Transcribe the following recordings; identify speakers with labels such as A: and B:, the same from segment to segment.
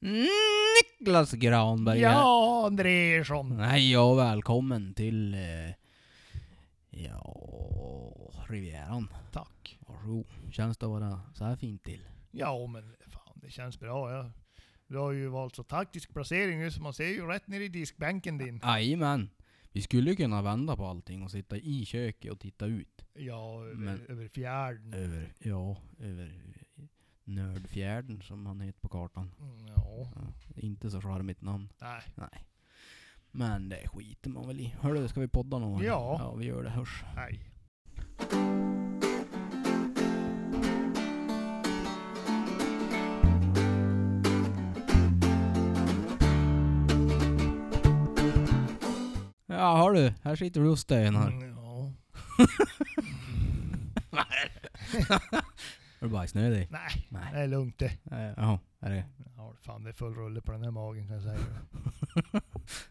A: Niklas Granberg här.
B: Ja, Andreasson.
A: Hej och välkommen till... Eh, ja... Rivieran.
B: Tack.
A: Varsågod. Känns det att vara så här fint till?
B: Ja, men fan det känns bra. Ja. Du har ju valt så taktisk placering nu så man ser ju rätt ner i diskbänken din.
A: Jajamän. Vi skulle ju kunna vända på allting och sitta i köket och titta ut.
B: Ja, över,
A: Men- Eh.
B: över fjärden.
A: Över, ja, över Nördfjärden som han heter på kartan.
B: Mm, Ja,
A: Ja, inte så charmigt namn.
B: nej.
A: Men det skiter man väl i. Hörru, ska vi podda någon gång?
B: Ja.
A: Ja, vi gör det. Hörs.
B: nej.
A: Ja, hör du. Här sitter du och stönar.
B: Mm, Ja.
A: Är du bajsnödig?
B: Nej,
A: Nej.
B: det är lugnt det.
A: Eh, Jaha, är det?
B: Ja, fan det är full rulle på den här magen kan jag säga.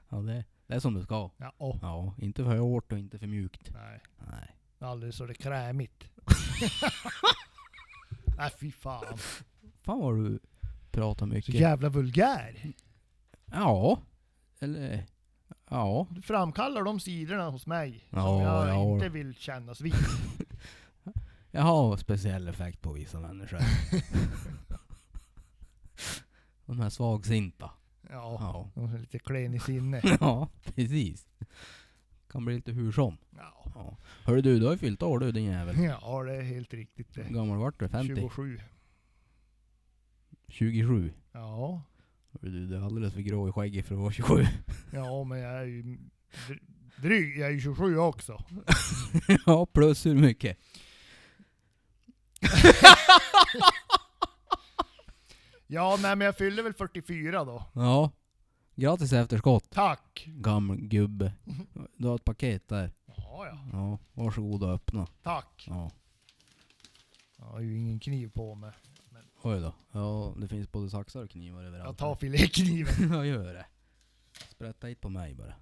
A: ja, det, det är som det ska.
B: Ja, åh.
A: Ja, inte för hårt och inte för mjukt.
B: Nej,
A: Nej.
B: alldeles så det är krämigt. Nej fy fan.
A: Fan vad du pratar
B: Så
A: mycket.
B: jävla vulgär.
A: Ja. Eller... Ja.
B: Du framkallar de sidorna hos mig som
A: Ja,
B: jag
A: ja.
B: inte vill kännas vid.
A: Jag har speciell effekt på vissa människor. De här svagsinta.
B: Ja,
A: Ja.
B: de är lite klen i sinne.
A: Ja, precis. Kan bli lite hur som.
B: Ja.
A: Ja. Hörru du, du har ju fyllt år du din jävel.
B: ja, det är helt riktigt
A: Hur
B: det.
A: gammal vart du? 50?
B: 27.
A: 27?
B: Ja.
A: Hörru du, du är alldeles för grå i skägget för att vara 27.
B: ja, men jag är ju dr- dryg. Jag är ju 27 också.
A: ja, plus hur mycket?
B: Ja, nej, men jag fyller väl 44 då.
A: Ja. Gratis efterskott.
B: Tack!
A: Gammal gubbe. Du har ett paket där.
B: Ja, ja.
A: Ja, varsågod och öppna.
B: Tack.
A: Ja.
B: Jag har ju ingen kniv på mig.
A: Oj då. Ja, det finns både saxar och knivar överallt.
B: Jag tar filékniven.
A: Jag gör det. Sprätta hit på mig bara.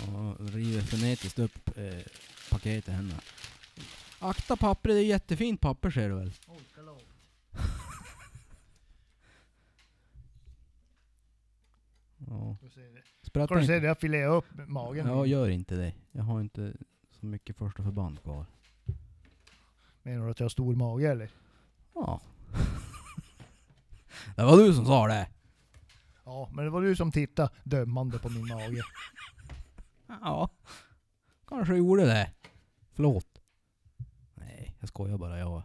A: Ja, river frenetiskt upp eh, paketet henne. Akta pappret, det är jättefint papper ser du väl?
B: Oj, förlåt.
A: Ja.
B: Då ser det.
A: Sprätta
B: Kan du se
A: inte.
B: det? Jag filear upp magen.
A: Ja, gör inte det. Jag har inte så mycket första förband kvar.
B: Menar du att jag har stor mage eller?
A: Ja. det var du som sa det.
B: Ja, men det var du som tittade dömande på min mage.
A: Ja, kanske gjorde det. Förlåt. Nej, jag skojar bara. Jag...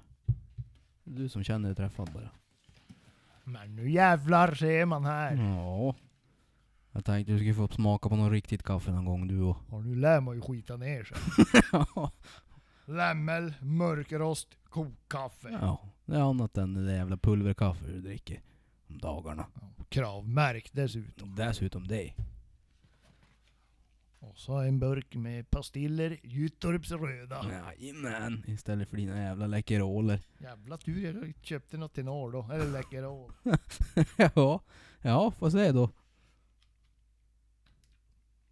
A: Det är Du som känner dig träffad bara.
B: Men nu jävlar ser man här.
A: Ja. Jag tänkte du skulle få smaka på något riktigt kaffe någon gång du och...
B: Och nu lär man ju skita ner sig.
A: ja.
B: Lämmel, mörkrost, kokkaffe.
A: Det är annat än det där jävla pulverkaffe du dricker om dagarna.
B: Kravmärkt dessutom.
A: Dessutom det.
B: Och så en burk med pastiller, Gyttorps röda.
A: Jajamän. Istället för dina jävla läckeroler.
B: Jävla tur jag köpte något till norr då. Eller Läkerol.
A: ja. Ja, får se då.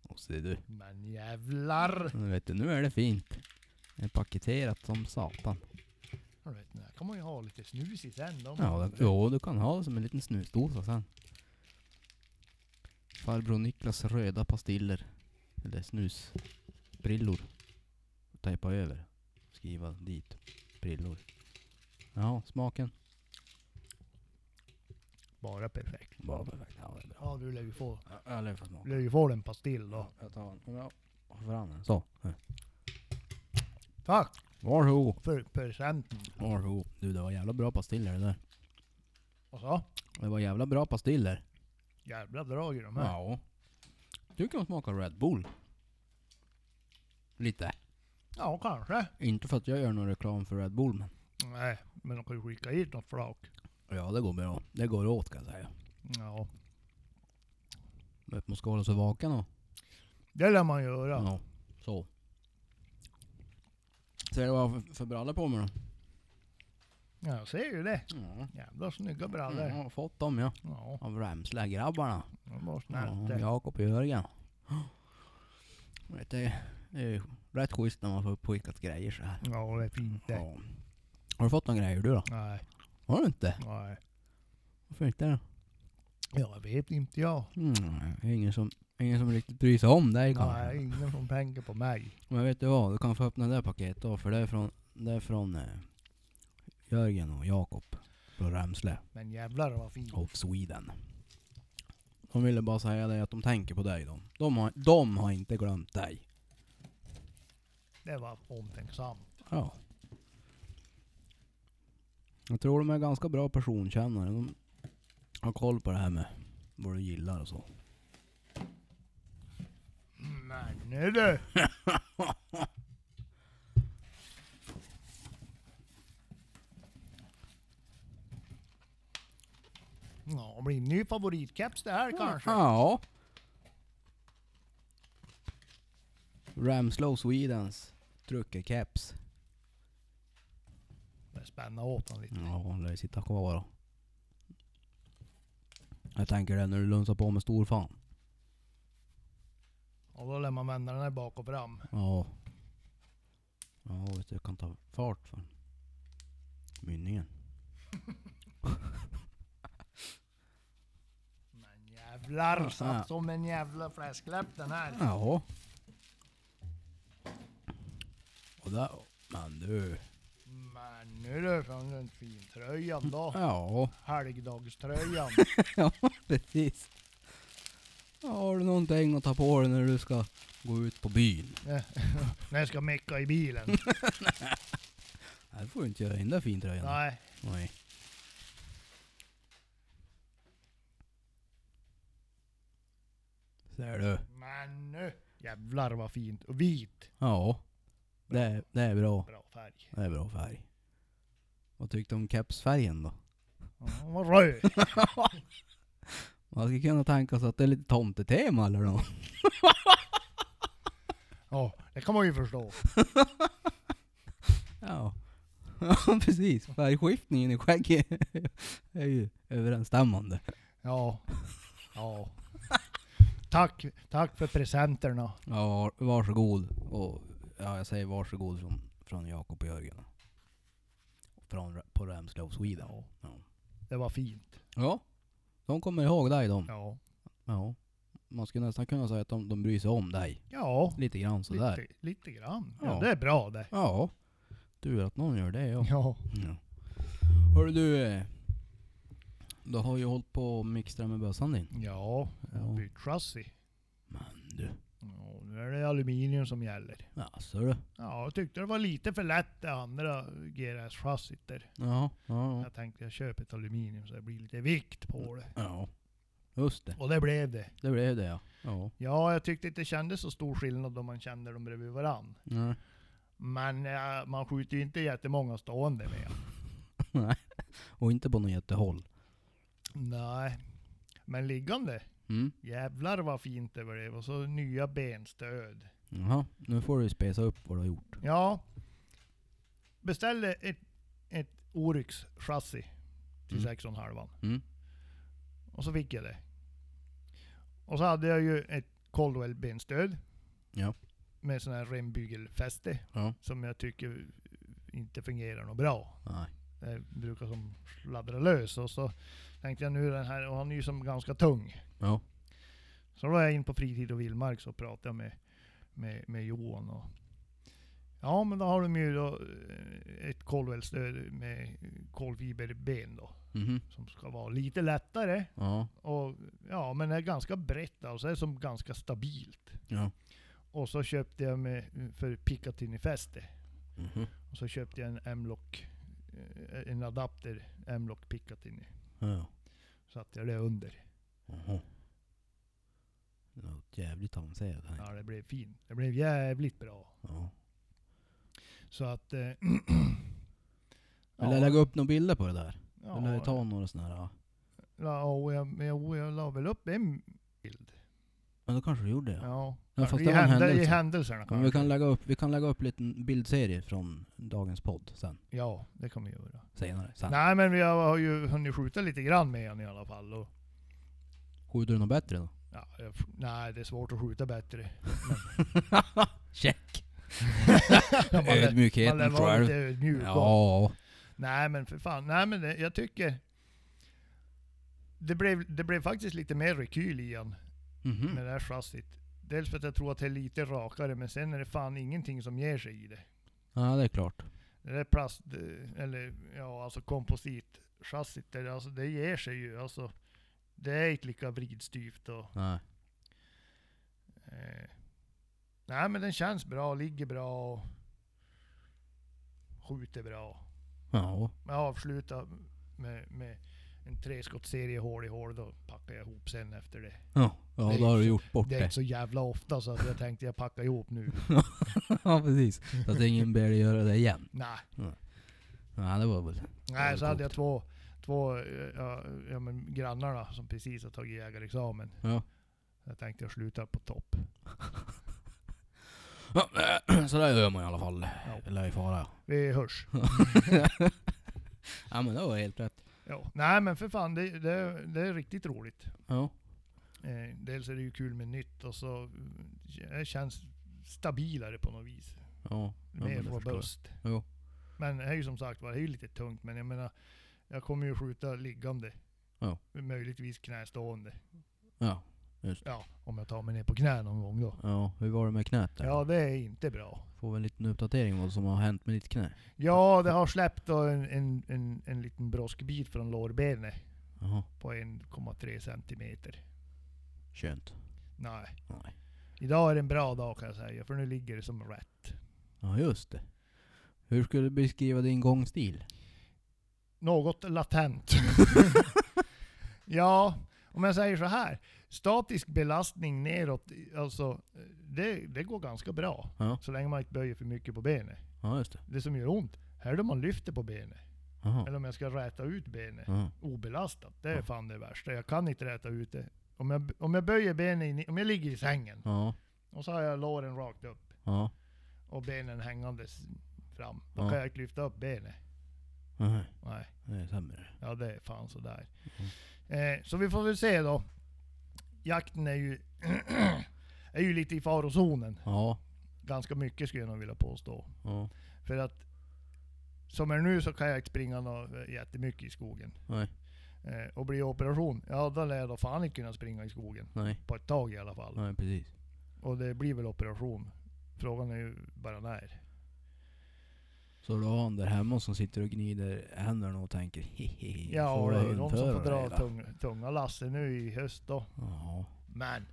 A: Och se du.
B: Men jävlar!
A: Nu vet du, nu är det fint. Det är paketerat som satan.
B: Ja, du vet, den här kan man ju ha lite snus i sen då.
A: Ja, det, jo, du kan ha det som en liten snusdosa sen. Farbror Niklas röda pastiller. Eller snusbrillor. Tejpa över. Skriva dit. Brillor. Ja, smaken.
B: Bara perfekt.
A: Bara perfekt. Ja, det är bra.
B: Ja du lär ju få,
A: Ja, Jag lär få smaka.
B: lär ju få en pastill då.
A: Jag tar en. Om jag har fram den. Så. här.
B: Tack
A: Varsågod.
B: för presenten.
A: Varsågod. Du, det var jävla bra pastiller det där.
B: Och så,
A: Det var jävla bra pastiller.
B: jävla drag i de här.
A: Ja. Du kan smaka Red Bull. Lite.
B: Ja, kanske.
A: Inte för att jag gör någon reklam för Red Bull men.
B: Nej, men de kan ju skicka hit något flak.
A: Ja det går bra. Det går åt kan jag säga.
B: Ja,
A: Men man ska hålla sig vaken och.
B: det lär man göra.
A: Så. Ser du vad jag har för- för brallor på mig då?
B: Ja, jag ser ju det.
A: Ja.
B: Jävla snygga brallor.
A: Jag har fått dem ja.
B: Ja,
A: Av Ramsla-grabbarna.
B: det var snällt
A: Ja,
B: det.
A: Jakob och Jörgen. Vet du, Det är ju rätt schysst när man får uppskickat grejer så här.
B: Ja, det är fint det.
A: Ja. Har du fått några grejer du då?
B: Nej,
A: Har du inte?
B: nej.
A: Varför inte då?
B: Jag vet inte jag.
A: Mm, det är ingen som, ingen som riktigt bryr sig om dig kanske.
B: Nej, ingen som tänker på mig.
A: Men vet du vad? Du kan få öppna det här paketet då, för det är från, det är från eh, Jörgen och Jakob från Ramsle
B: Men jävlar vad fint.
A: of Sweden. De ville bara säga dig att de tänker på dig. De, de, har, de har inte glömt dig.
B: Det var omtänksamt.
A: Ja. Jag tror de är ganska bra personkännare. De har koll på det här med vad du gillar och så.
B: Men nu du. Ja, det blir en ny favoritkeps det här kanske.
A: Ja. Ramslow Swedens truckerkeps.
B: Men Spänna åt honom lite.
A: Ja, hon lär ju sitta kvar då. Jag tänker det när du lunsar på med stor fan.
B: Och då lär man vända den här bak och fram.
A: Ja. Ja, vet du, jag kan ta fart för mynningen.
B: Men jävlar,
A: Ja.
B: satt som en jävla fläskläpp den här.
A: Ja. Och där, men du.
B: Men nu du, fan den fintröjan då.
A: Ja,
B: Helgdagströjan.
A: precis. Ja, har du någonting att ta på dig när du ska gå ut på byn?
B: När jag ska mecka i bilen.
A: Nej, det får du inte göra i den där fintröjan.
B: Nej.
A: Nej. Ser du?
B: Men nu. Jävlar vad fint. Och vit.
A: Ja. Det är, det är bra.
B: Bra färg.
A: Det är bra färg. Vad tyckte du om kepsfärgen då?
B: Ja, vad röd.
A: Man skulle kunna tänka sig att det är lite tomtetema eller något.
B: Ja, det kan man ju förstå.
A: Ja. Ja precis. Färgskiftningen i skägget är ju överensstämmande.
B: Ja. Ja. Tack, tack för presenterna.
A: Ja, varsågod. Och, ja, jag säger varsågod från, från Jakob och Jörgen. Från, på Ramslow Sweden.
B: Ja.
A: Ja.
B: Det var fint.
A: Ja. De kommer ihåg dig de.
B: Ja.
A: Ja. Man skulle nästan kunna säga att de, de bryr sig om dig.
B: Ja.
A: Lite grann sådär.
B: Lite, lite grann. Ja,
A: Ja.
B: det är bra det.
A: Ja. Tur att någon gör det ja.
B: Ja.
A: ja. Hörru du. eh, Du har ju hållit på och mixtra med bössan din.
B: Ja.
A: Ja.
B: Bytt chassi.
A: Men du.
B: Ja, nu är det aluminium som gäller.
A: Jaså du.
B: Ja, jag tyckte det var lite för lätt det andra GRS-chassit där.
A: Ja. Ja.
B: Jag tänkte jag köper ett aluminium så det blir lite vikt på det.
A: Ja. Just det.
B: Och det blev det.
A: Det blev det ja. Ja.
B: Ja, jag tyckte inte det kändes så stor skillnad då man kände dem bredvid varann.
A: Nej.
B: Men eh, man skjuter ju inte jättemånga stående med.
A: Och inte på något jättehåll.
B: Nej. Men liggande,
A: Mm.
B: jävlar vad fint det blev. Och så nya benstöd.
A: Jaha. Nu får du spesa upp vad du har gjort.
B: Ja. Beställde ett, ett Oryx-chassi till
A: Mm.
B: 6,5.
A: Mm.
B: Och så fick jag det. Och så hade jag ju ett Caldwell-benstöd.
A: Ja.
B: Med sån här rembygelfäste.
A: Ja.
B: Som jag tycker inte fungerar något bra.
A: Nej.
B: Det brukar som sladdra lös. Och så tänkte jag nu den här, och han är ju som ganska tung.
A: Ja.
B: Så då var jag in på fritid och vildmark så pratade jag med, med, med Johan. Och, ja men då har de ju då eh, ett kolvälstöd med kolfiberben då.
A: Mhm.
B: Som ska vara lite lättare.
A: Ja.
B: Och, ja men det är ganska brett och så är det som ganska stabilt.
A: Ja.
B: Och så köpte jag med, för Picatinny-fäste.
A: Mhm.
B: Och så köpte jag en M-lock, eh, en adapter M-lock Picatinny.
A: Ja.
B: satte jag det under.
A: Jaha. Det var jävligt avancerat här.
B: Ja, det blev fint. Det blev jävligt bra.
A: Ja.
B: Så att... Eh,
A: Vill jag lägga upp några bilder på det där?
B: ja,
A: Eller ta några sådana här? ja.
B: la- och jag, men jag, jag la väl upp en bild.
A: Men då kanske du gjorde det? Ja.
B: Ja.
A: Ja, fast
B: I,
A: det var en
B: händel- I
A: händelse.
B: händelserna
A: Men
B: kanske.
A: vi, kan lägga upp, vi kan lägga upp lite bildserie från dagens podd sen.
B: Ja, det kan vi göra.
A: Senare. Sen.
B: Nej men vi har, har ju hunnit skjuta lite grann med en i alla fall. Och,
A: Skjuter du något bättre då?
B: ja, jag, f- nej, det är svårt att skjuta bättre.
A: Check!
B: man lär- man lär
A: Ödmjukheten tror
B: vara lite
A: jag.
B: ödmjuk. och-
A: Ja.
B: Nej men för fan, nej men det, jag tycker... Det blev, det blev faktiskt lite mer rekyl i han
A: Mhm.
B: med det här chassit. Dels för att jag tror att det är lite rakare, men sen är det fan ingenting som ger sig i det.
A: Ja, det är klart.
B: Det där plast, eh, eller ja alltså kompositchassit, det, alltså, det ger sig ju. Alltså, det är inte lika vridstyvt och...
A: Nej.
B: Eh, nej men den känns bra, ligger bra och skjuter bra.
A: Ja.
B: Jag avslutar med, med en treskottserie hål i hål, då packar jag ihop sen efter det.
A: Ja, ja
B: Det är
A: då har
B: ju
A: du
B: så-
A: gjort bort
B: Det är
A: det.
B: inte så jävla ofta så att jag tänkte jag packar ihop nu.
A: ja, precis. Så att ingen ber dig göra det igen.
B: Nej,
A: Ja, det var väl...
B: nej
A: väl
B: så hade jag
A: klokt.
B: två, två eh, ja, ja, men grannarna som precis har tagit jägarexamen.
A: Ja.
B: Jag tänkte jag slutar på topp.
A: Ja, Så där gör man i alla fall. Eller i fara.
B: Vi hörs.
A: Ja, men det var helt rätt.
B: Ja. Nej men för fan, det, det, det är riktigt roligt.
A: Ja.
B: Eh, dels är det ju kul med nytt och så mm, det känns stabilare på något vis.
A: Ja. Ja,
B: mer
A: men det förstår jag.
B: robust.
A: Jo.
B: Men det är ju som sagt var, det är ju lite tungt. Men jag menar, jag kommer ju skjuta liggande.
A: Ja.
B: Möjligtvis knästående.
A: Ja.
B: Ja, om jag tar mig ner på knä någon gång då.
A: Ja, hur var det med knät där?
B: Ja, det är inte bra.
A: Får vi en liten uppdatering om vad som har hänt med ditt knä?
B: Ja, det har släppt då en, en, en, en liten broskbit från lårbenet
A: Jaha,
B: på 1,3 centimeter.
A: skönt.
B: Nej.
A: Nej.
B: Idag är det en bra dag kan jag säga, för nu ligger det som rätt.
A: Ja, just det. Hur skulle du beskriva din gångstil?
B: Något latent. ja, om jag säger så här. Statisk belastning neråt, alltså, det, det går ganska bra.
A: Ja.
B: Så länge man inte böjer för mycket på benet.
A: Ja, just det.
B: Det som gör ont, här är då man lyfter på benet.
A: Jaha.
B: Eller om jag ska räta ut benet
A: Ja.
B: obelastat. Det är
A: Ja.
B: fan det värsta. Jag kan inte räta ut det. Om jag, om jag böjer benet, in, i- om jag ligger i sängen
A: Ja.
B: och så har jag låren rakt upp
A: Ja.
B: och benen hängandes fram. Då
A: Ja.
B: kan jag inte lyfta upp benet.
A: Nej,
B: Nej.
A: det är sämre.
B: Ja, det är fan sådär.
A: Mm.
B: Eh, så vi får väl se då. Jakten är ju, är ju lite i farozonen.
A: Ja.
B: Ganska mycket skulle jag nog vilja påstå.
A: Ja.
B: För att som är nu så kan jag inte springa nå- eh, jättemycket i skogen.
A: Nej.
B: Eh, och blir det operation, ja då lär jag då fan inte kunna springa i skogen.
A: Nej.
B: På ett tag i alla fall.
A: Nej, precis.
B: Och det blir väl operation. Frågan är ju bara när.
A: Så du har han där hemma som sitter och gnider händerna och tänker hehehe.
B: Ja, och
A: du
B: det är ju
A: hund
B: de som
A: för
B: får
A: det
B: dra
A: hela?"
B: tunga, tunga lasset nu i höst då.
A: Ja.
B: Men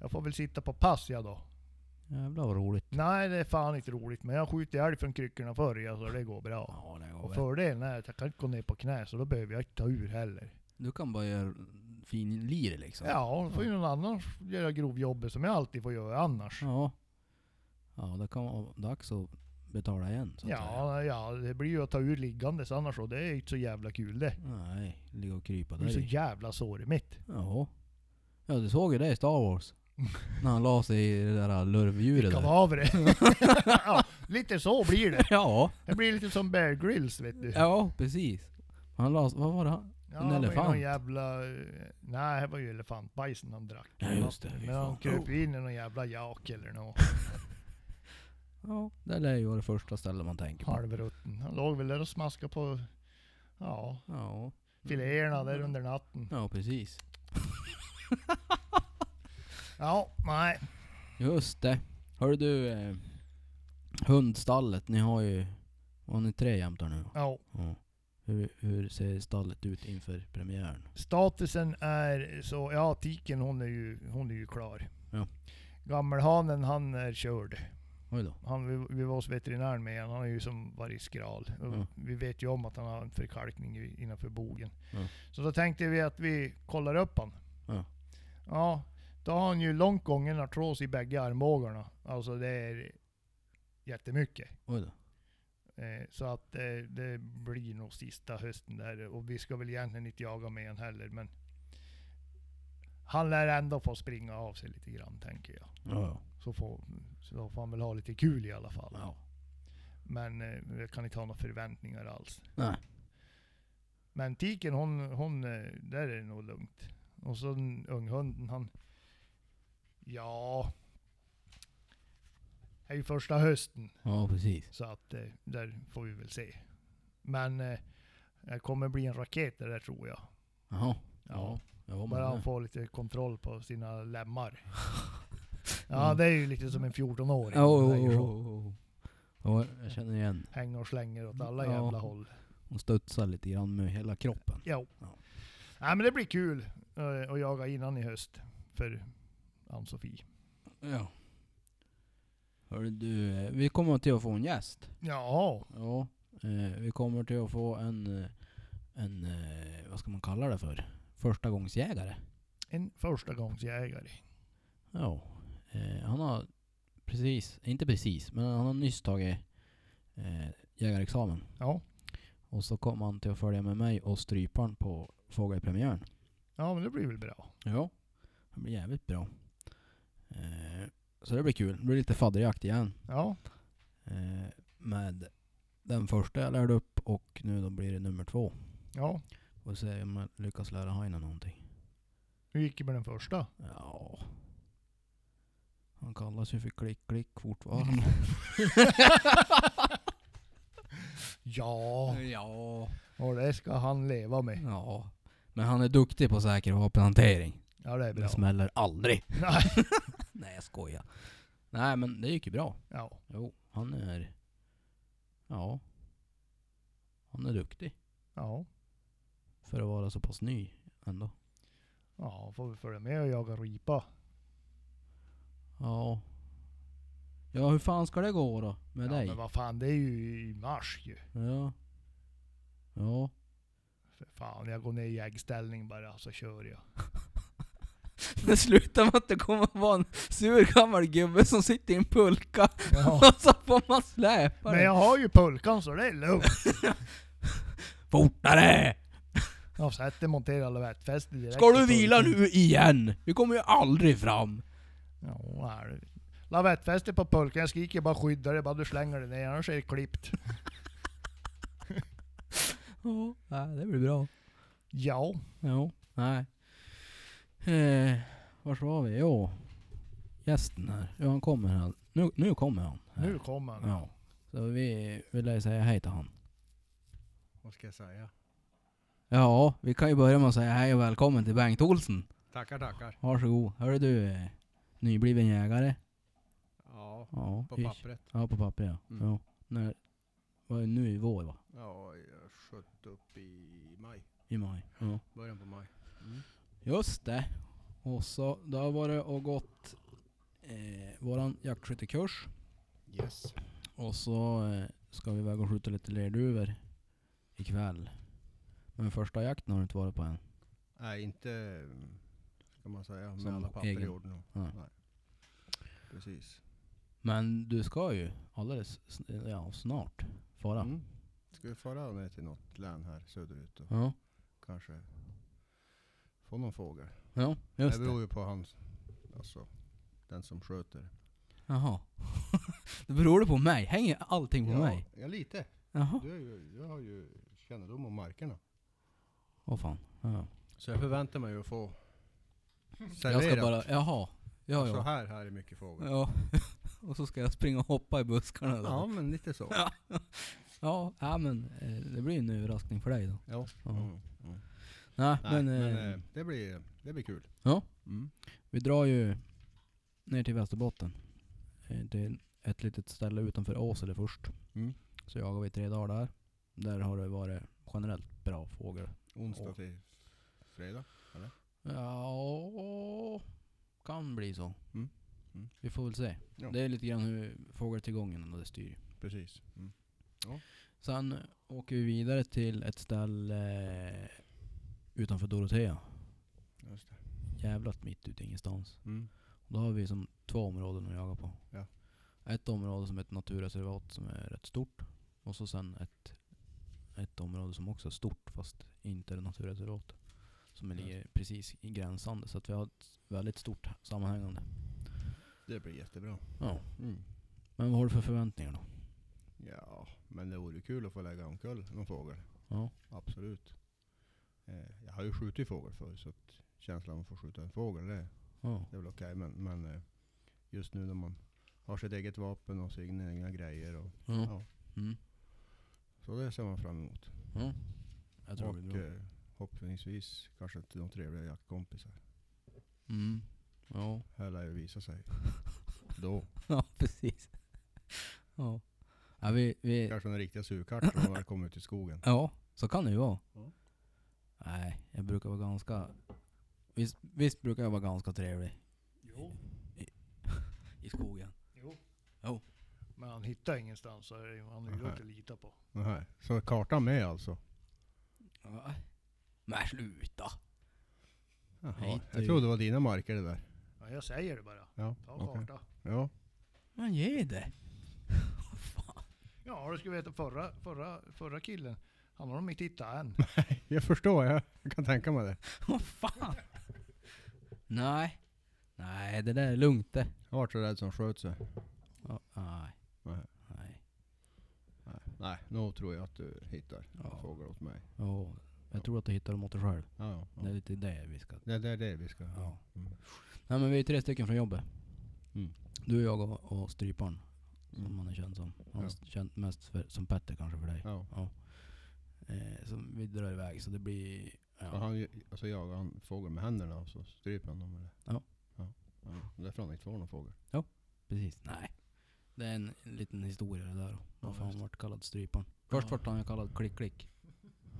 B: jag får väl sitta på pass jag då.
A: Jävlar vad roligt.
B: Nej, det är fan inte roligt. Men jag skjuter älg från kryckorna förr, ja, så det går bra.
A: Ja, det
B: Och
A: går väl.
B: fördelen är att jag kan inte gå ner på knä, så då behöver jag inte ta ur heller.
A: Du kan bara göra fin lir liksom.
B: Ja, då får ju någon annan göra grovjobbet som jag alltid får göra annars.
A: Ja. Ja, det kan vara dags att betala igen så att säga.
B: Ja, ja, det blir ju att ta ur liggandes annars och det är inte så jävla kul det.
A: Nej, ligga och krypa
B: Det blir
A: där
B: så
A: i.
B: jävla sår i mitt.
A: Ja. Ja, du såg ju det i Star Wars. När han la sig i det där lurvdjuret där.
B: Kadaver. ja, lite så blir det.
A: Ja,
B: Det blir lite som Bear Grylls vet du.
A: ja precis. Han la vad var det han?
B: Ja,
A: en
B: det var ju
A: elefant.
B: Någon jävla, eh, nej, det var ju elefantbajsen han drack.
A: Ja, just det. Fy
B: Men han
A: fan.
B: kröp ju in i någon jävla jak eller något.
A: Ja, det lär ju vara det första stället man tänker på.
B: Halvrutten. Han låg väl där och smaskade på ja,
A: Ja,
B: filéerna där under natten.
A: ja precis.
B: Ja, nej.
A: Just det. Hör du, eh, hundstallet, ni har ju... Har ni tre jämtar nu?
B: Ja.
A: Ja. Hur, hur ser stallet ut inför premiären?
B: Statusen är så, ja tiken hon är ju, hon är ju klar.
A: Ja.
B: Gammelhanen han är körd.
A: Oj då.
B: Han, vi, vi var hos veterinären med honom, han har ju som varit skral. Och
A: Ja.
B: Vi vet ju om att han har en förkalkning i- innanför bogen.
A: Ja.
B: Så då tänkte vi att vi kollar upp han.
A: Ja.
B: Ja, då har han ju långt gången artros i bägge armbågarna. Alltså det är jättemycket.
A: Oj då.
B: Eh, Så att eh, det blir nog sista hösten där och vi ska väl egentligen inte jaga med honom heller men han lär ändå få springa av sig lite grann tänker jag.
A: Ja, ja.
B: Så får, så då får han väl ha lite kul i alla fall.
A: ja.
B: Men eh, jag kan inte ha några förväntningar alls.
A: Nej.
B: Men tiken hon, hon, eh, där är det nog lugnt. Och så den unghunden han, ja. är ju första hösten.
A: Ja, precis.
B: Så att eh, där får vi väl se. Men eh, det kommer bli en raket det där tror jag.
A: Jaha. Ja. Jag var
B: Bara han
A: med.
B: får lite kontroll på sina lemmar. Ja, det är ju lite som en 14-åring.
A: Mm. Ja,
B: om
A: oh,
B: man säger
A: oh,
B: så.
A: oh, oh. Ja, jag känner igen.
B: Hänger och slänger åt alla
A: Ja.
B: jävla håll.
A: Hon studsar lite grann med hela kroppen.
B: Jo.
A: Ja.
B: Nej men det blir kul eh, att jaga innan i höst. För Ann-Sofie.
A: Ja. Hörru du, eh, vi kommer till att få en gäst.
B: Ja,
A: Ja. Eh, vi kommer till att få en, eh, en, eh, vad ska man kalla det för? Förstagångsjägare.
B: en förstagångsjägare.
A: Ja. Eh, han har precis, inte precis, men han har nyss tagit eh, jägarexamen.
B: Ja.
A: Och så kommer han till att följa med mig och stryparen på fågelpremiären.
B: ja, men det blir väl bra.
A: Ja. Det blir jävligt bra. Eh, så det blir kul. Det blir lite fadderjakt igen.
B: Ja,
A: Eh, med den första jag lärde upp och nu då blir det nummer två.
B: ja.
A: Och se om jag lyckas lära Heine någonting.
B: Hur gick det med den första?
A: Ja. Han kallas ju för Klick-Klick fortfarande.
B: ja,
A: ja.
B: och det ska han leva med.
A: Ja. Men han är duktig på säker vapenhantering.
B: Ja, det är bra.
A: Det smäller aldrig.
B: Nej.
A: Nej jag skojar. Nej men det gick ju bra.
B: Ja,
A: Jo, han är... Ja. Han är duktig.
B: ja.
A: För att vara så pass ny ändå.
B: Ja, får vi följa med och jaga ripa.
A: Ja. Ja hur fan ska det gå då? Med
B: Ja,
A: dig?
B: men vad fan, det är ju i mars ju.
A: Ja. Ja.
B: För fan, jag går ner i jägställning bara så kör jag.
A: Det slutar med att det kommer att vara en sur gammal gubbe som sitter i en pulka
B: Ja.
A: och så får man släpa
B: Men jag har ju pulkan så det är lugnt.
A: Fortare!
B: Jag har sett det montera lavettfästet direkt.
A: Ska
B: i
A: du
B: pulkan.
A: vila nu igen? Vi kommer ju aldrig fram.
B: Ja, här. är det. Lavettfästet på pulkan, jag skriker bara skydda det, bara du slänger det ner, annars är det klippt.
A: Ja, nej, det blir bra.
B: Ja,
A: Jo, nej. Eh, vars var vi? Jo. Gästen här. Ja, han kommer här. Nu, nu kommer han. Här.
B: nu kommer han.
A: Ja. Så vi vill jag säga hej till han.
C: Vad ska jag säga?
A: Ja, vi kan ju börja med att säga hej och välkommen till Bengt Olsen.
C: Tackar, tackar.
A: Varsågod. Hörru du, eh, nybliven jägare.
C: Ja,
A: Ja,
C: på
A: ish.
C: pappret.
A: Ja, på papper ja.
C: Mm.
A: ja. När, var det nu i vår va?
C: Ja, jag sköt upp i maj.
A: I maj. Ja.
C: Början på maj.
A: Just det. Och så, då har varit och gått eh, våran jaktskyttekurs.
C: Yes.
A: Och så eh, ska vi iväg och skjuta lite lerduvor ikväll. Men första jakten har du inte varit på än.
C: Nej, inte mm, ska man säga med
A: Som
C: alla papper
A: egen.
C: i orden.
A: Nej.
C: Precis.
A: Men du ska ju alldeles sn- ja, snart fara.
C: Mm. Ska vi fara ner till något län här söderut och
A: Ja.
C: kanske få någon fågel.
A: ja,
C: Det
A: just det.
C: beror ju på hans, alltså den som sköter.
A: Jaha. det beror det på mig? Hänger allting på
C: ja,
A: mig?
C: Ja, lite.
A: Jaha.
C: Du, är ju, du har ju kännedom om markerna.
A: Åh fan. Ja.
C: Så jag förväntar mig att få serverat.
A: Jag ska bara, jaha. Ja,
C: Så
A: ja.
C: här, här är mycket fågel.
A: ja. Och så ska jag springa och hoppa i buskarna där.
C: Ja, men lite så.
A: Ja. Ja, ja men eh, det blir ju en överraskning för dig då.
C: Ja.
A: Ja.
C: Mm. Mm.
A: Nej,
C: Nej,
A: men,
C: men,
A: eh,
C: eh, det, blir, det blir kul.
A: Ja.
C: Mm.
A: vi drar ju ner till Västerbotten. Eh, Till ett litet ställe utanför Åsele först.
C: Mm.
A: Så jagar vi tre dagar där. Där har det varit generellt bra fågel.
C: Onsdag
A: Och-
C: till fredag.
A: Ja, kan bli så.
C: Mm. Mm.
A: Vi får väl se.
C: Ja.
A: Det är lite grann hur fågeltillgången och det styr.
C: Precis. Mm.
A: Sen åker vi vidare till ett ställe utanför Dorotea.
C: Just det.
A: Jävlat mitt ute ingenstans.
C: Mm.
A: Då har vi som två områden att jaga på.
C: Ja.
A: Ett område som är ett naturreservat som är rätt stort. Och så sen ett, ett område som också är stort fast inte är naturreservat. Som
C: Just.
A: ligger precis i gränsande. Så att vi har ett väldigt stort sammanhängande.
C: Det blir jättebra.
A: Ja.
C: Mm.
A: Men vad har du för förväntningar då?
C: Ja, men det vore kul att få lägga omkull någon fågel.
A: Ja.
C: Absolut. Eh, jag har ju skjutit fågel förr så att känslan av att få skjuta en fågel det,
A: Ja.
C: det är väl okej. Men, men eh, just nu när man har sitt eget vapen och sina egna grejer. Och,
A: Ja.
C: ja.
A: Mm.
C: Så det ser man fram emot.
A: Ja. Jag tror det blir
C: och
A: bra.
C: eh, hoppningsvis kanske till de trevliga jaktkompisar.
A: Mm. Ja.
C: Här lär det visa sig. Då.
A: ja, precis. Ja. ja, vi, vi,
C: Kanske den riktiga surkartan när man väl kommer ut i skogen.
A: Ja, så kan det ju vara.
C: Ja.
A: Nej, jag brukar vara ganska... Visst, visst brukar jag vara ganska trevlig
B: Jo.
A: i skogen?
B: jo.
A: Jo.
B: Men han hittar ingenstans, så är det, ju- han är ju
C: Aha.
B: inte att lita på.
C: Nähä. Så kartan med alltså?
A: Ja. Men sluta! Nej,
C: Jaha.
A: du.
C: Jag trodde det var dina marker det där.
B: Ja, jag säger det bara.
C: Ja,
B: Ta
C: okej.
B: karta.
C: Ja.
A: Men ge det!
B: Ja, du skulle veta förra, förra, förra killen, han har de inte hittat än.
C: Jag förstår, jag jag kan tänka mig det.
A: Vad fan! Nej. Nej, det där är lugnt det.
C: Jag vart så rädd som sköt sig.
A: Ja, nej.
C: Nej.
A: Nej.
C: Nej, Nej, nu tror jag att du hittar
A: Ja.
C: ja. fåglar åt mig.
A: Ja, jag tror att du hittar dem åt dig själv.
C: Ja, ja,
A: Det är
C: ja.
A: lite det vi ska...
C: Det, det är det vi ska...
A: Ja.
C: Mm.
A: Nej men vi är tre stycken från jobbet.
C: Mm.
A: Du, jag och, och stryparen. Som
C: Mm.
A: han är känd som. Han är
C: Ja.
A: känd mest för, som Petter kanske för dig.
C: Ja.
A: Eh, som vi drar iväg så det blir...
C: Och
A: Ja.
C: han, ju- alltså jagar han fågel med händerna och så stryper han dem eller?
A: Ja.
C: ja. ja. Därför har han inte får någon fågel.
A: Precis. Nej. Det är en, en liten historia det där. Varför
C: Ja,
A: han
C: just
A: vart kallad Stryparen. Först
B: Ja.
A: vart han ju kallad Klick Klick.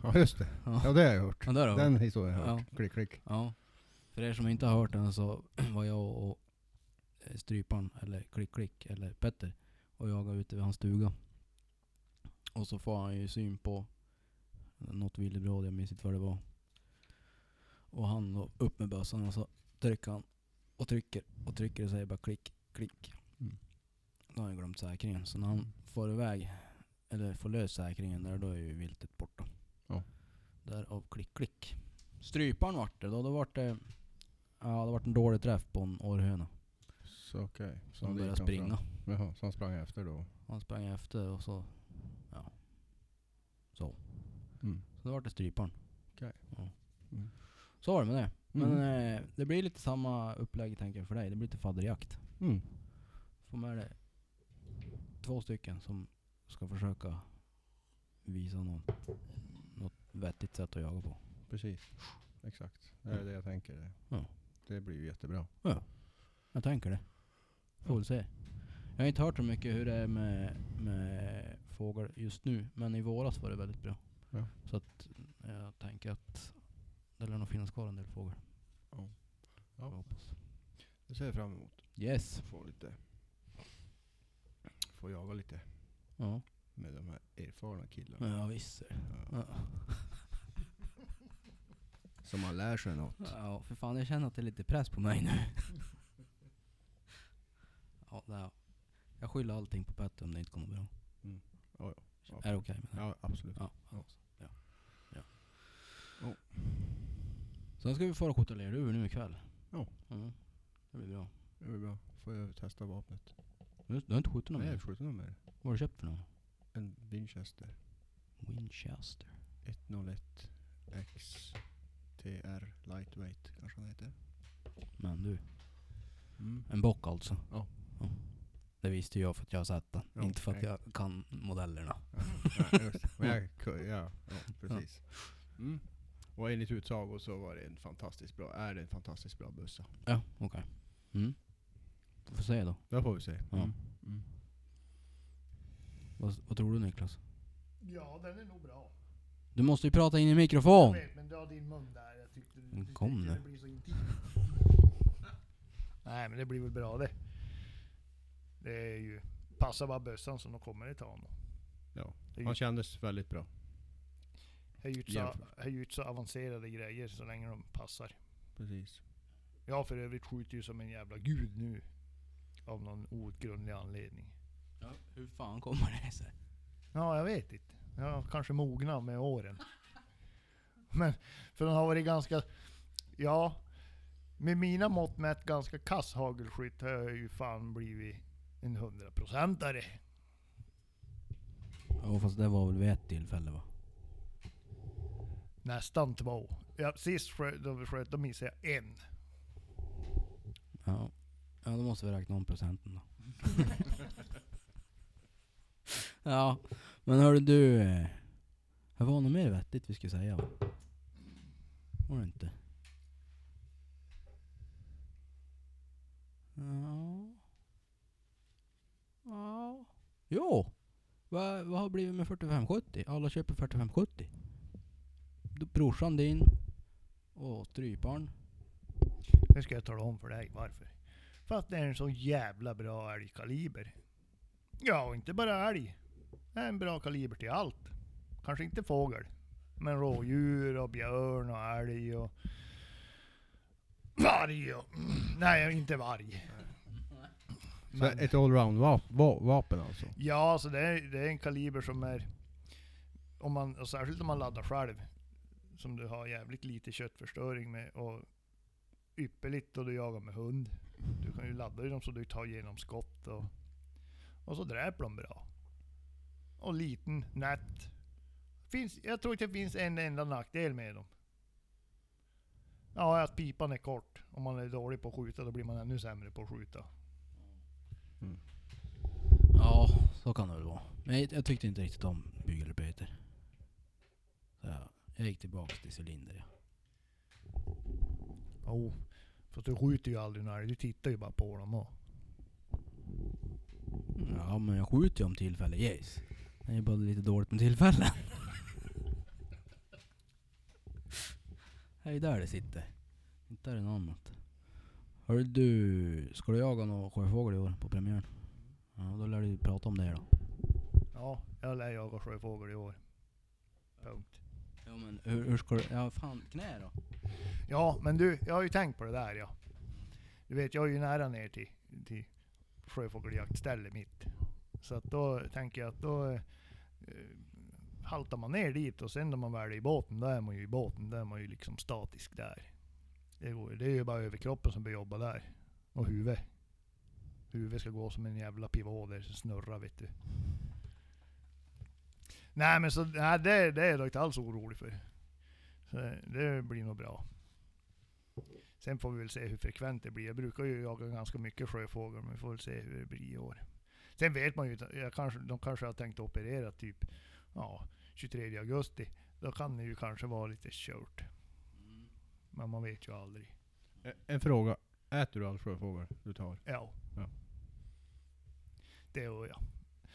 C: Ja just det. Ja det har jag hört.
A: Ja, där har vi.
C: Den historien har jag hört.
A: Ja.
C: Klick klick.
A: Ja. För er som inte har hört den så var jag och eh, Stryparen, eller Klick Klick, eller Petter och jagade ute vid hans stuga. Och så får han ju syn på något villebråd, jag minns inte vad det var. Och han då upp med bössan och så trycker han och trycker och trycker och säger bara klick, klick.
C: Mm.
A: Då har han glömt säkringen. Så när han får iväg, eller får lös säkringen där, då är ju viltet borta.
C: Ja.
A: Därav klick, klick. Stryparen vart det då. Då vart det, ja det vart en dålig träff på en århöna.
C: Så okej.
A: Så han
C: dit
A: började
C: han sprang.
A: springa.
C: Jaha, så han sprang efter då?
A: Han sprang efter och så, ja. Så.
C: Mm.
A: Så då vart det stryparen.
C: Okej.
A: Ja.
C: Mm.
A: Så var det med det. Men
C: Mm.
A: eh, det blir lite samma upplägg tänker jag för dig. Det blir lite fadderjakt.
C: Mm.
A: Får med dig två stycken som ska försöka visa någon, något vettigt sätt att jaga på.
C: Precis. Exakt. Det är det jag tänker.
A: Mm. Ja.
C: Det blir ju jättebra.
A: Jag tänker det. Får väl se. Jag har inte hört så mycket hur det är med, med fågel just nu, men i våras var det väldigt bra.
C: Ja.
A: Så att jag tänker att det lär nog finnas kvar en del fågel.
C: Ja.
A: Jag hoppas.
C: Det ser jag fram emot.
A: Yes.
C: Få lite... Få jaga lite
A: Ja,
C: med de här erfarna killarna.
A: ja visst.
C: Ja.
A: Ja.
C: Så man lär sig något.
A: ja, för fan jag känner att det är lite press på mig nu. ja, det är. Jag skyller allting på Petter om det inte kommer bra.
C: Mm. Ja, ja.
A: Är det okej med det?
C: Ja, absolut.
A: Ja, ja.
C: Ja.
A: ja. ja.
C: Ja.
A: Sen ska vi fara och skjuta lerduvor nu ikväll.
C: Ja.
A: Mm. Det blir bra.
C: Det blir bra. Får jag testa vapnet?
A: Du, du har inte skjutit någon
C: Nej,
A: mer?
C: jag skjuter nog med det.
A: Vad har du köpt för någon?
C: En Winchester
A: Winchester.
C: 101 XTR Lightweight kanske den heter.
A: Men du,
C: Mm.
A: en bock alltså?
C: Ja.
A: Det visste ju jag för att jag har sett den.
C: Ja,
A: inte för att
C: okej.
A: jag kan modellerna.
C: Ja, ja, just. Men jag, ku- ja, ja precis. Mm. Och enligt utsago så var det en fantastiskt bra, är det en fantastiskt bra bussa.
A: Ja, okej. Mm. Får se då.
C: Det får vi se.
A: Ja.
C: Mm. Mm.
A: Vad, vad tror du Niklas?
B: Ja, den är nog bra.
A: Du måste ju prata in i
B: Jag
A: mikrofon!
B: vet, men dra din mun där. Jag tyckte,
A: Men
B: jag
A: kom
B: tyckte
A: nu.
B: det blir så intimt. Nej, men det blir väl bra det. Det är ju... Passa bara bössan så de kommer i tan.
C: Ja.
B: Det är ju-
C: Han kändes väldigt bra.
B: Det är ju inte så-
C: Jämfört.
B: det är ju inte så avancerade grejer så länge de passar.
C: Precis.
B: Jag för övrigt skjuter ju som en jävla gud nu. Av någon outgrundlig anledning.
A: Ja, hur fan kommer det sig?
B: Ja, jag vet inte. Jag har kanske mognat med åren. Men, för den har varit ganska, ja, med mina mått mätt ganska kass hagelskytt har jag ju fan blivit en hundraprocentare.
A: Ja fast det var väl vid ett tillfälle va?
B: Nästan två. Ja, sist sköt, då vi sköt, då missade jag en.
A: Ja. Ja då måste vi räkna om procenten då. ja, men hörru du. eh, Det var något mer vettigt vi skulle säga va? Var det inte? Ja. Ja. Jo! Vad vad har blivit med 4570? Alla köper 4570. Då Brorsan din och stryparen.
B: Nu ska jag tala om för dig varför. För att det är en så jävla bra älgkaliber. Ja, och inte bara älg. Det är en bra kaliber till allt. Kanske inte fågel. Men rådjur och björn och älg och... Varg och... Nej, inte varg.
C: Så
B: Men,
C: ett allround-vapen alltså?
B: ja, så det är, det är en kaliber som är... Om man, och särskilt om man laddar själv. Som du har jävligt lite köttförstöring med. Och ypperligt då du jagar med hund. Du kan ju ladda i dem så du tar igenom skott och, och så dräper de bra. Och liten, nätt. Finns, jag tror inte det finns en enda nackdel med dem. Ja, att pipan är kort. Om man är dålig på att skjuta då blir man ännu sämre på att skjuta.
A: Ja, så kan det väl vara. Men jag, jag tyckte inte riktigt om Bygg eller Peter. Så jag, jag gick tillbaks till cylinder. Ja.
B: Jo, oh, fast du skjuter ju aldrig när du tittar ju bara på dem och.
A: ja, men jag skjuter ju om tillfälle ges. Det är bara lite dåligt med tillfällen. det är ju där det sitter. Inte är det något annat. Hörru du, ska du jaga någon sjöfågel i år på premiären? Ja, då lär du prata om det då.
B: Ja, jag lär jaga sjöfågel i år. Punkt.
A: Ja men hur, hur ska du... Ja fan, knä då?
B: Ja, men du, jag har ju tänkt på det där ja. Du vet, jag är ju nära ner till, till sjöfågeljaktstället mitt. Så att då tänker jag att då eh, haltar man ner dit och sen när man väl är i båten, då är man ju i båten. Då är man ju liksom statisk där. Det, går, ju- det är ju bara överkroppen som bör jobba där. Och huvudet. Huvudet ska gå som en jävla pivå där, som snurrar vet du. Nej men så, nej, det, det är jag inte alls orolig för. Så det blir nog bra. Sen får vi väl se hur frekvent det blir. Jag brukar ju jaga ganska mycket sjöfågel, men vi får väl se hur det blir i år. Sen vet man ju, att jag kanske, de kanske har tänkt operera typ ja, 23 augusti. Då kan det ju kanske vara lite kört.
A: Mm.
B: Men man vet ju aldrig.
C: E- En fråga. Äter du all sjöfågel du tar?
B: Ja.
C: Ja.
B: Det gör jag.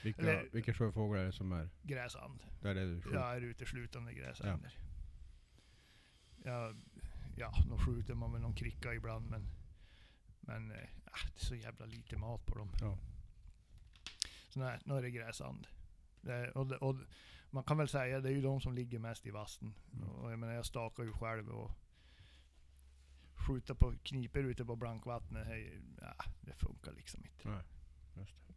C: Vilka,
B: Eller-
C: vilka sjöfåglar är det som är...
B: Gräsand.
C: Där är du
B: Jag är uteslutande gräsänder. Ja, ja, då skjuter man väl någon kricka ibland men, men eh, ah, det är så jävla lite mat på dem.
C: Ja.
B: Så nej, nu är det gräsand. Det, är- och, det- och man kan väl säga det är ju de som ligger mest i vassen.
C: Mm.
B: Och jag menar jag stakar ju själv och skjuta på kniper ute på blankvattnet, det är ju- ah, det funkar liksom inte.
C: Nej, just det.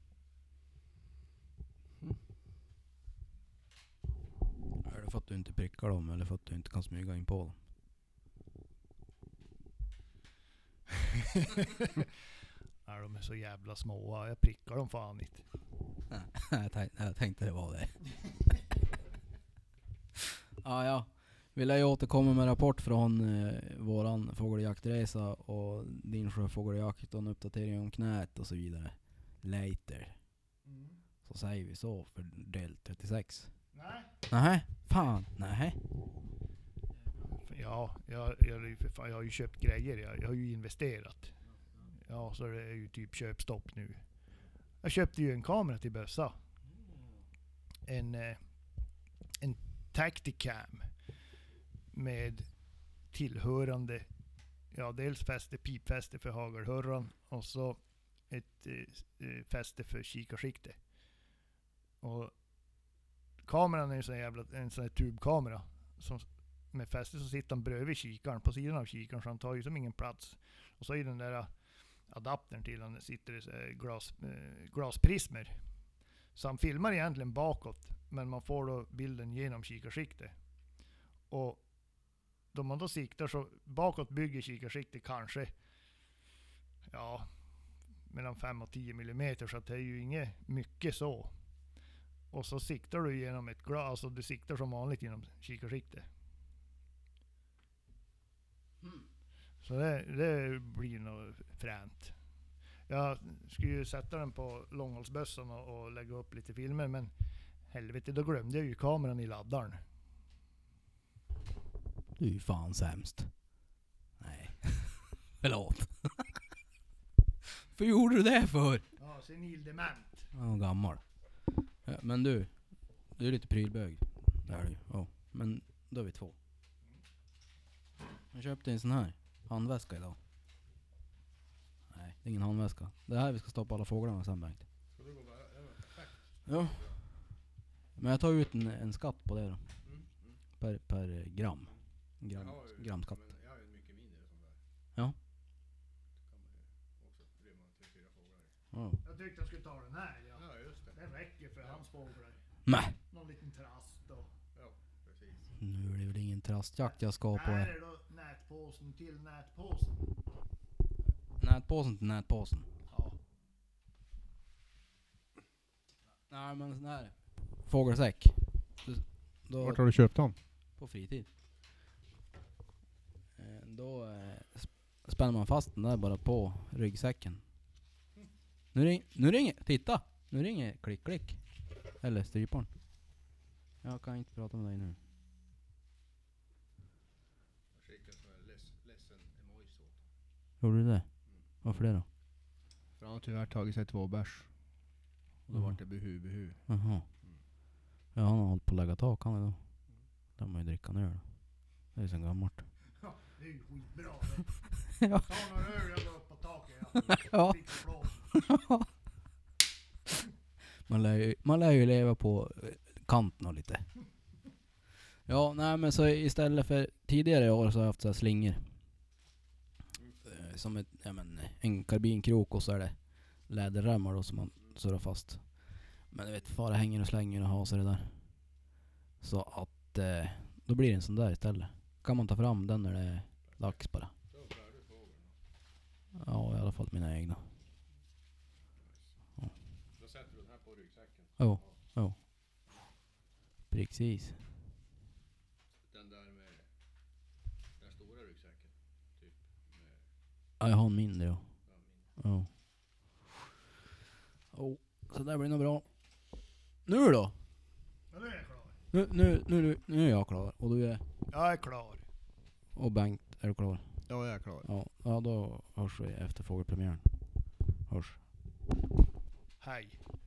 A: Är det för att du inte prickar dem eller för att du inte kan smyga in på dem?
B: Nej, de är så jävla små, jag prickar dem fan inte.
A: jag, tänkte, jag tänkte det var det. ja, ja. Vill jag återkomma med rapport från eh, våran fågeljaktresa och din sjöfågeljakt och en uppdatering om knät och så vidare. Later. Så säger vi så för del 36.
B: Nej.
A: Nej, fan, nej.
B: Ja, jag, jag, är ju för fan, jag har ju köpt grejer. Jag, jag har ju investerat. Ja, så det är ju typ köpstopp nu. Jag köpte ju en kamera till bössa. En, eh, en Tacticam. Med tillhörande, ja dels fäste, pipfäste för hagelhörran och så ett eh, eh, fäste för kikarsikte. Och kameran är ju sån jävla, en sån här tubkamera som med fäste så sitter han bredvid kikaren, på sidan av kikaren, så han tar ju som ingen plats. Och så i den där äh, adaptern till han sitter det så här glas, eh, glasprismer. Så han filmar egentligen bakåt, men man får då bilden genom kikarsiktet. Och då man då siktar så bakåt bygger kikarsiktet kanske, ja, mellan 5 och 10 millimeter, så att det är ju inget mycket så. Och så siktar du genom ett glas, alltså du siktar som vanligt genom kikarsiktet. Så det, det blir nog fränt. Jag skulle ju sätta den på långhållsbössan och, och lägga upp lite filmer, men helvete, då glömde jag ju kameran i laddaren.
A: Du är ju fan sämst. Nej. Förlåt. För gjorde du det för?
B: Ja, senil dement.
A: Han var gammal. Ja, men du. Du är lite prylbög. Det är du ju. Ja. Men då är vi två. Jag köpte en sån här. Handväska idag. Nej, det är ingen handväska. Det är här vi ska stoppa alla fåglarna sen Bengt. Ja. Men jag tar ut en, en skatt på det då. Per, per gram. gram gramskatt.
C: Jag har ju mycket mindre sån där.
A: Ja. Ja.
B: Jag tyckte jag skulle ta den här. Ja.
C: Ja, just det.
B: Den räcker för hans fåglar.
A: Nej.
B: Någon liten trast och...
C: Precis.
A: Nu är det väl ingen trastjakt jag ska på.
B: Här
A: här.
B: är då nätpåsen till nätpåsen.
A: Nätpåsen till nätpåsen.
B: Ja.
A: Nej men sån här. Fågelsäck. Du- Då,
C: Vart har du köpt dem?
A: På fritid. Eh, Då eh, sp- spänner man fast den där bara på ryggsäcken. Nu, ring, nu ringer, titta! Nu ringer klick klick. Eller stryparen. Jag kan inte prata med dig nu.
C: Jag skickade en sån här leds- ledsen emojis åt honom.
A: Gjorde du det? Varför det då?
C: För han har tyvärr tagit sig två bärs. Och då
A: Mhm.
C: vart det buhu buhu.
A: Jaha. Ja han har hållit på att lägga tak han idag. Där man ju dricka en öl. Det är ju så gammalt.
B: Ja, det är ju skitbra.
A: Ja.
B: det. Ta några öl, jag går upp på taket. Jag
A: Ja.
B: dricker blå.
A: Man lär, ju, man lär ju leva på eh, kanten och lite. Ja, nej men så istället för tidigare år så har jag haft så här slingor. Eh, Som ett, ja, men, en karbinkrok och så är det läderremmar då som man surrar fast. Men du vet, fara hänger och slänger och har sig det där. Så att eh, då blir det en sån där istället. Kan man ta fram den när det är dags bara. Ja, i alla fall mina egna.
C: Då sätter du den här på ryggsäcken.
A: Jo, jo. Precis.
C: Den där med den stora ryggsäcken. Typ med
A: Ja, jag har en mindre ja. Ja. Oh, så där blir nog bra. Nu då?
B: Ja, nu är jag klar.
A: Nu, nu, nu, nu är jag klar. Och du är...
B: Jag är klar.
A: Och Bengt, är du klar?
C: Ja, jag är klar.
A: Ja, ja då hörs vi efter fågelpremiären. Hörs.
B: Hej.